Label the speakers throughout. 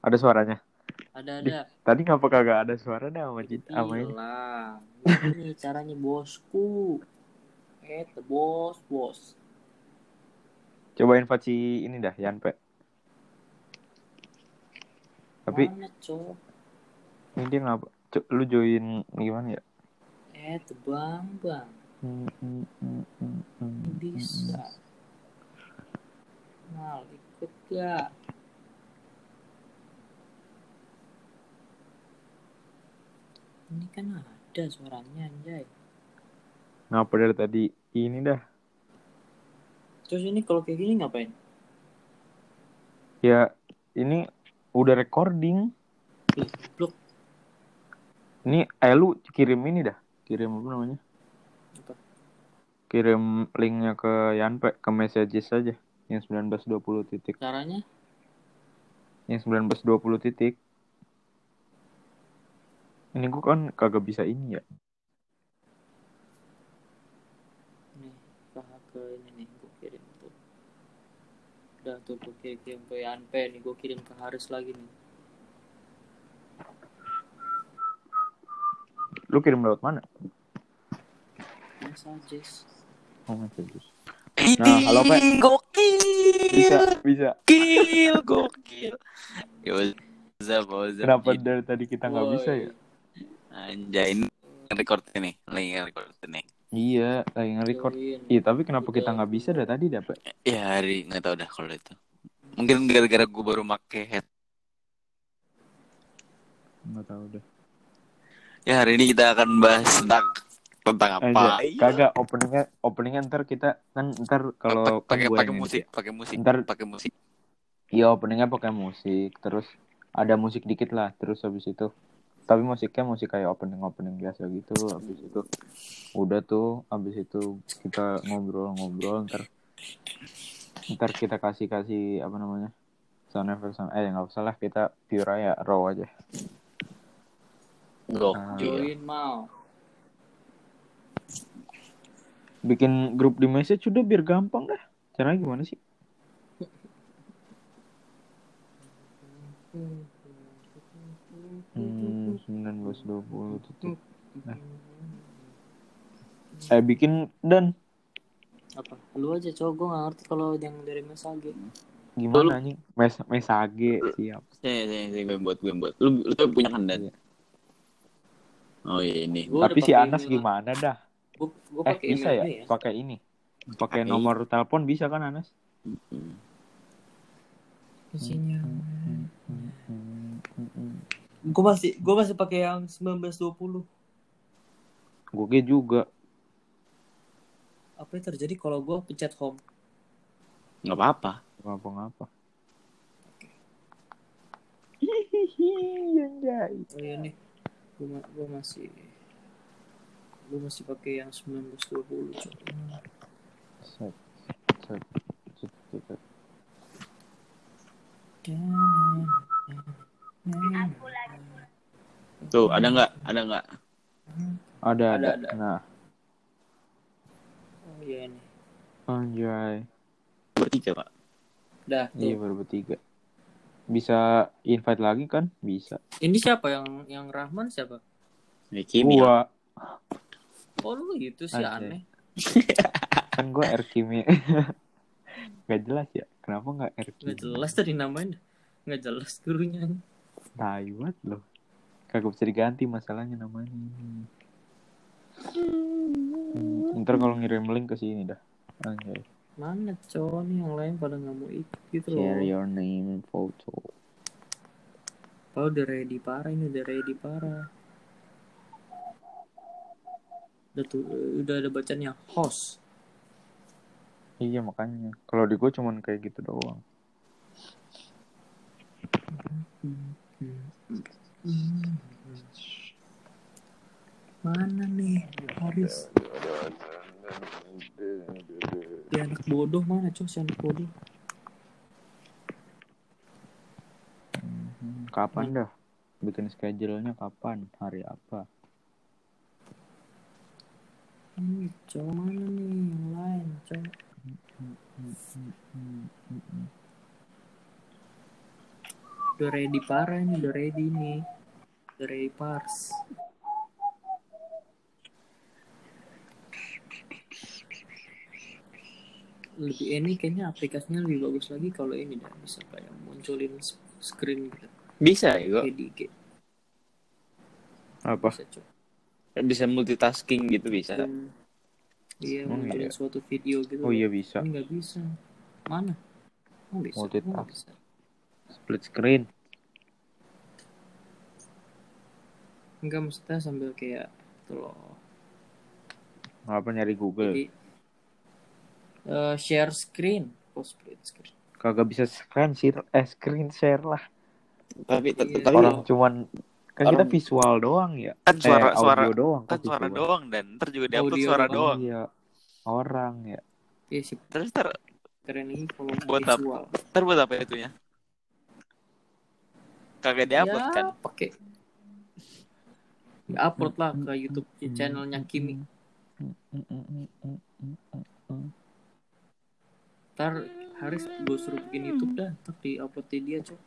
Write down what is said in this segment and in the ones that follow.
Speaker 1: Ada suaranya.
Speaker 2: Ah, Ada
Speaker 1: Di-
Speaker 2: ada.
Speaker 1: Tadi ngapa kagak ada suaranya sama
Speaker 2: Iya.
Speaker 1: Cita sama ini?
Speaker 2: Hilang. Ini caranya bosku. Eh, bos, bos.
Speaker 1: Cobain Faci ini dah, Yanpe. Tapi
Speaker 2: Mana, cok?
Speaker 1: ini dia ngapa? Cuk, lu join gimana ya?
Speaker 2: Eh, bang, bang. Bisa. Mal, ikut gak? Ini kan ada suaranya, anjay.
Speaker 1: Ngapa dari tadi? Ini dah.
Speaker 2: Terus ini kalau kayak gini ngapain?
Speaker 1: Ya, ini udah recording.
Speaker 2: Ih, Blok.
Speaker 1: Ini eh lu kirim ini dah. Kirim apa namanya?
Speaker 2: Apa?
Speaker 1: Kirim linknya ke Yanpe, ke messages aja. Yang 1920 titik.
Speaker 2: Caranya?
Speaker 1: Yang 1920 titik. Ini gua kan kagak bisa ini ya.
Speaker 2: Nih, paha ke ini nih, gue kirim tuh. Udah tuh, gue kirim ke Yanpe nih, gue kirim ke Haris lagi nih.
Speaker 1: Lu kirim lewat mana?
Speaker 2: Messages.
Speaker 1: Oh, messages. Nah, halo, Pak. Bisa,
Speaker 3: Gokil,
Speaker 1: bisa.
Speaker 3: gokil, gokil. Yo, Zab, oh, Zab.
Speaker 1: Kenapa dari tadi kita nggak
Speaker 3: Oh,
Speaker 2: Woi.
Speaker 1: bisa ya?
Speaker 3: iya. Anjay, ini record ini, lagi record ini.
Speaker 1: Iya, lagi nge-record.
Speaker 2: Join.
Speaker 1: Iya, tapi kenapa kita nggak bisa dari tadi dapat?
Speaker 3: Ya hari nggak tahu dah kalau itu. Mungkin gara-gara gue baru make head.
Speaker 1: Nggak tahu deh.
Speaker 3: Ya hari ini kita akan bahas tentang tentang apa? Iya.
Speaker 1: Aja, kagak openingnya, openingnya ntar kita kan ntar kan kalau kan
Speaker 3: pakai
Speaker 1: gua
Speaker 3: pakai
Speaker 1: yang ini.
Speaker 3: musik, pakai musik,
Speaker 1: Ntar-
Speaker 3: pakai musik.
Speaker 1: Iya, openingnya pakai musik. Terus ada musik dikit lah. Terus habis itu, tapi musiknya musik kayak opening opening biasa gitu. Habis itu, udah tuh. Habis itu kita ngobrol-ngobrol. Ntar, ntar kita kasih kasih apa namanya sound effect sound. Eh nggak usah lah kita pure ya raw aja.
Speaker 3: Gokil.
Speaker 2: Join mau.
Speaker 1: bikin grup di message udah biar gampang dah caranya gimana sih hmm, 1920 titik. Nah. eh bikin dan
Speaker 2: Apa? Lu aja cowok gue gak ngerti kalau yang dari message.
Speaker 3: Lu-
Speaker 1: gimana anjing mes mesage siap
Speaker 3: Sini, sini, sini, gue iya, buat, gue buat. Lu, lu tuh punya kandan. Oh iya ini.
Speaker 2: Gua
Speaker 1: tapi
Speaker 2: udah
Speaker 1: si
Speaker 2: pakai
Speaker 1: Anas
Speaker 2: email-
Speaker 1: gimana dah
Speaker 2: Gue gue
Speaker 1: eh
Speaker 2: pakai
Speaker 1: bisa
Speaker 2: email
Speaker 1: ya
Speaker 2: lu ya.
Speaker 1: pakai ini pakai
Speaker 3: Pakai.
Speaker 1: nomor telepon bisa kan Anas Hmm.
Speaker 2: Gue masih gue masih pakai yang 1920.
Speaker 1: gue juga
Speaker 2: Apa yang terjadi kalau gue pencet home?
Speaker 3: Nggak apa-apa.
Speaker 1: ngapa ngapa hihihi anjay
Speaker 2: Oh iya nih. Gue gue masih gue masih pakai yang 1920 cowok.
Speaker 1: Set, set, set, set, set.
Speaker 2: Oh,
Speaker 3: Tuh ada nggak? Ada nggak?
Speaker 1: ada
Speaker 2: Ada,
Speaker 1: ada
Speaker 2: ada.
Speaker 1: nah
Speaker 2: Oh iya nih.
Speaker 1: anjay
Speaker 3: Bertiga pak.
Speaker 2: Dah.
Speaker 1: Iya
Speaker 2: Tuh.
Speaker 1: baru bertiga. Bisa invite lagi kan? Bisa.
Speaker 2: Ini siapa yang yang Rahman siapa?
Speaker 3: Ya, Kimi.
Speaker 1: Gua
Speaker 2: Oh lu gitu sih
Speaker 1: Anjay.
Speaker 2: aneh.
Speaker 1: kan gua R Kimi. gak jelas ya. Kenapa nggak R Kimi?
Speaker 2: Nggak jelas tadi namanya. Nggak jelas gurunya.
Speaker 1: Taiwan loh. Kagak bisa diganti masalahnya namanya. Hmm, Ntar kalau ngirim link ke sini dah. Anjay.
Speaker 2: Mana cowok nih yang lain pada nggak mau ikut gitu loh.
Speaker 1: Share your name and photo.
Speaker 2: Kalau Oh, udah ready parah ini udah ready parah. Udah tuh udah ada bacanya host.
Speaker 1: Iya makanya. Kalau di gua cuman kayak gitu doang.
Speaker 2: Mana nih Haris? Dia anak bodoh mana cowok si anak bodoh?
Speaker 1: Hmm, Kapan dah? Bikin schedule-nya kapan? Hari apa?
Speaker 2: Hmm, cowok mana nih yang lain cowok? udah ready parah ini udah ready nih udah ready pars lebih ini kayaknya aplikasinya lebih bagus lagi kalau ini dah bisa kayak munculin s- screen gitu
Speaker 3: Bisa ya, kok.
Speaker 2: kayak di IG
Speaker 1: Apa?
Speaker 2: bisa coba
Speaker 3: Bisa multitasking gitu bisa.
Speaker 2: iya
Speaker 1: Emang
Speaker 2: munculin
Speaker 1: iya?
Speaker 2: suatu video gitu
Speaker 1: Oh iya bisa.
Speaker 2: ini nggak bisa mana Oh, bisa.
Speaker 1: Multitask.
Speaker 2: Oh, nggak bisa.
Speaker 1: Split screen.
Speaker 2: Enggak maksudnya sambil kayak gitu loh.
Speaker 1: Apa nyari Google?
Speaker 2: Jadi eh, share screen, oh split screen.
Speaker 1: Kagak bisa screen share, eh screen share lah.
Speaker 3: Tapi tet-
Speaker 2: Iya.
Speaker 3: tapi
Speaker 1: Orang cuman kan kita
Speaker 3: Orang-
Speaker 1: visual doang ya.
Speaker 3: kan suara
Speaker 1: eh,
Speaker 3: suara
Speaker 1: audio doang
Speaker 3: kan suara
Speaker 1: visual.
Speaker 3: doang dan ntar juga diupload
Speaker 2: Audio
Speaker 3: suara
Speaker 2: doang.
Speaker 3: doang.
Speaker 1: Iya. Orang ya.
Speaker 2: Iya sih
Speaker 3: Terus ntar
Speaker 2: keren ini kalau
Speaker 3: Buat apa?
Speaker 2: visual.
Speaker 3: ntar buat apa itunya? Kagak diupload kan?
Speaker 2: Ya, pakai. Ya, upload lah ke YouTube channelnya Kimi. Ntar Haris gue suruh bikin YouTube dah, ntar di upload di dia cok.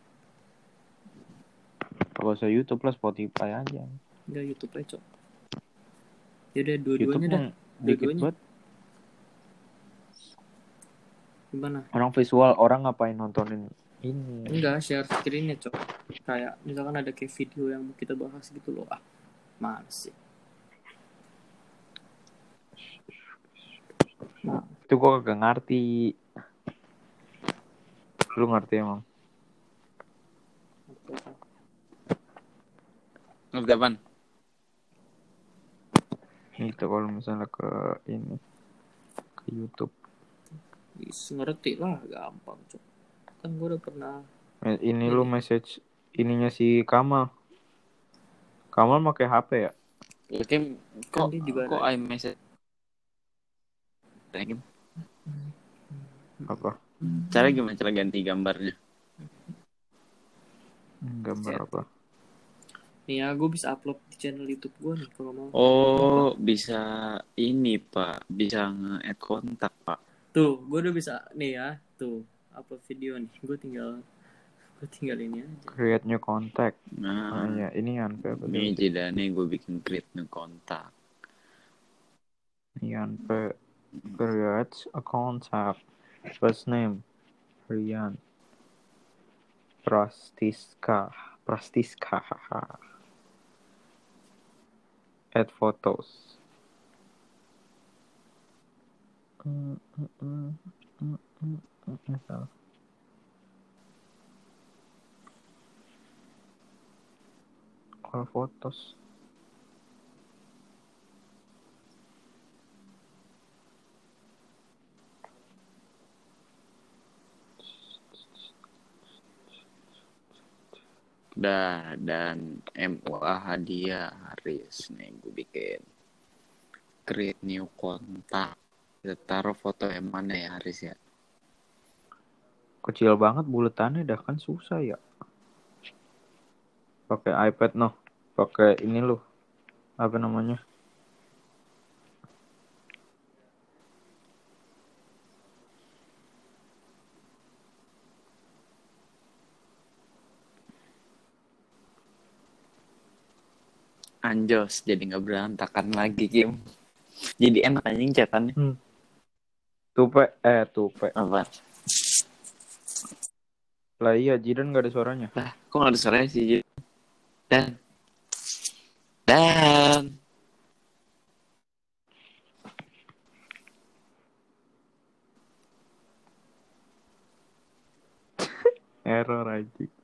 Speaker 1: Gak usah YouTube lah Spotify aja.
Speaker 2: Enggak YouTube aja cok. Yaudah
Speaker 1: YouTube
Speaker 2: dua-duanya dah.
Speaker 1: mah dikit
Speaker 2: dua-duanya.
Speaker 1: banget.
Speaker 2: Gimana?
Speaker 1: Orang visual orang ngapain nontonin ini?
Speaker 2: Enggak, share screen-nya, Cok. Kayak misalkan ada kayak video yang mau kita bahas gitu loh. Ah, males sih.
Speaker 1: Itu gua kagak ngerti. Lu ngerti emang?
Speaker 3: Ngerti apaan?
Speaker 1: Itu kalau misalnya ke ini ke YouTube.
Speaker 2: Is, ngerti lah, gampang, Cok. Kan gue udah pernah
Speaker 1: Eh, Ini lu message ininya si Kamal. Kamal pakai HP ya?
Speaker 3: Kim, kok
Speaker 2: dia juga
Speaker 3: kok
Speaker 2: ada.
Speaker 3: iMessage? Tanya, Kim,
Speaker 1: Apa?
Speaker 3: Cara gimana cara ganti gambarnya?
Speaker 2: Hmm.
Speaker 1: Gambar
Speaker 2: Iya.
Speaker 1: apa?
Speaker 2: nih ya, gue bisa upload di channel YouTube gue nih kalau mau.
Speaker 3: Oh, bisa ini Pak, bisa nge-add kontak Pak.
Speaker 2: Tuh, gue udah bisa nih ya, tuh upload video nih. Gue tinggal gue tinggal ini aja.
Speaker 1: Create new contact. Ah,
Speaker 3: Nah,
Speaker 1: ya, ini unfair. betul.
Speaker 3: ini jadinya gue bikin create new kontak.
Speaker 1: Rian Pe creates a contact. First name Rian Prastiska Prastiska Add photos. Mm, mm, mm, mm, mm, mm, mm, salah. All photos.
Speaker 3: Dah, dan MUA hadiah Haris nih gue bikin create new kontak kita taruh foto yang mana ya Haris ya
Speaker 1: kecil banget buletannya dah kan susah ya pakai iPad noh pakai ini loh apa namanya
Speaker 3: anjos jadi nggak berantakan lagi Kim jadi enak anjing cetannya
Speaker 1: tupe eh tupe
Speaker 3: apa
Speaker 1: lah iya Jidan gak ada suaranya
Speaker 3: kok nggak ada suaranya sih Ji? dan dan
Speaker 1: error aja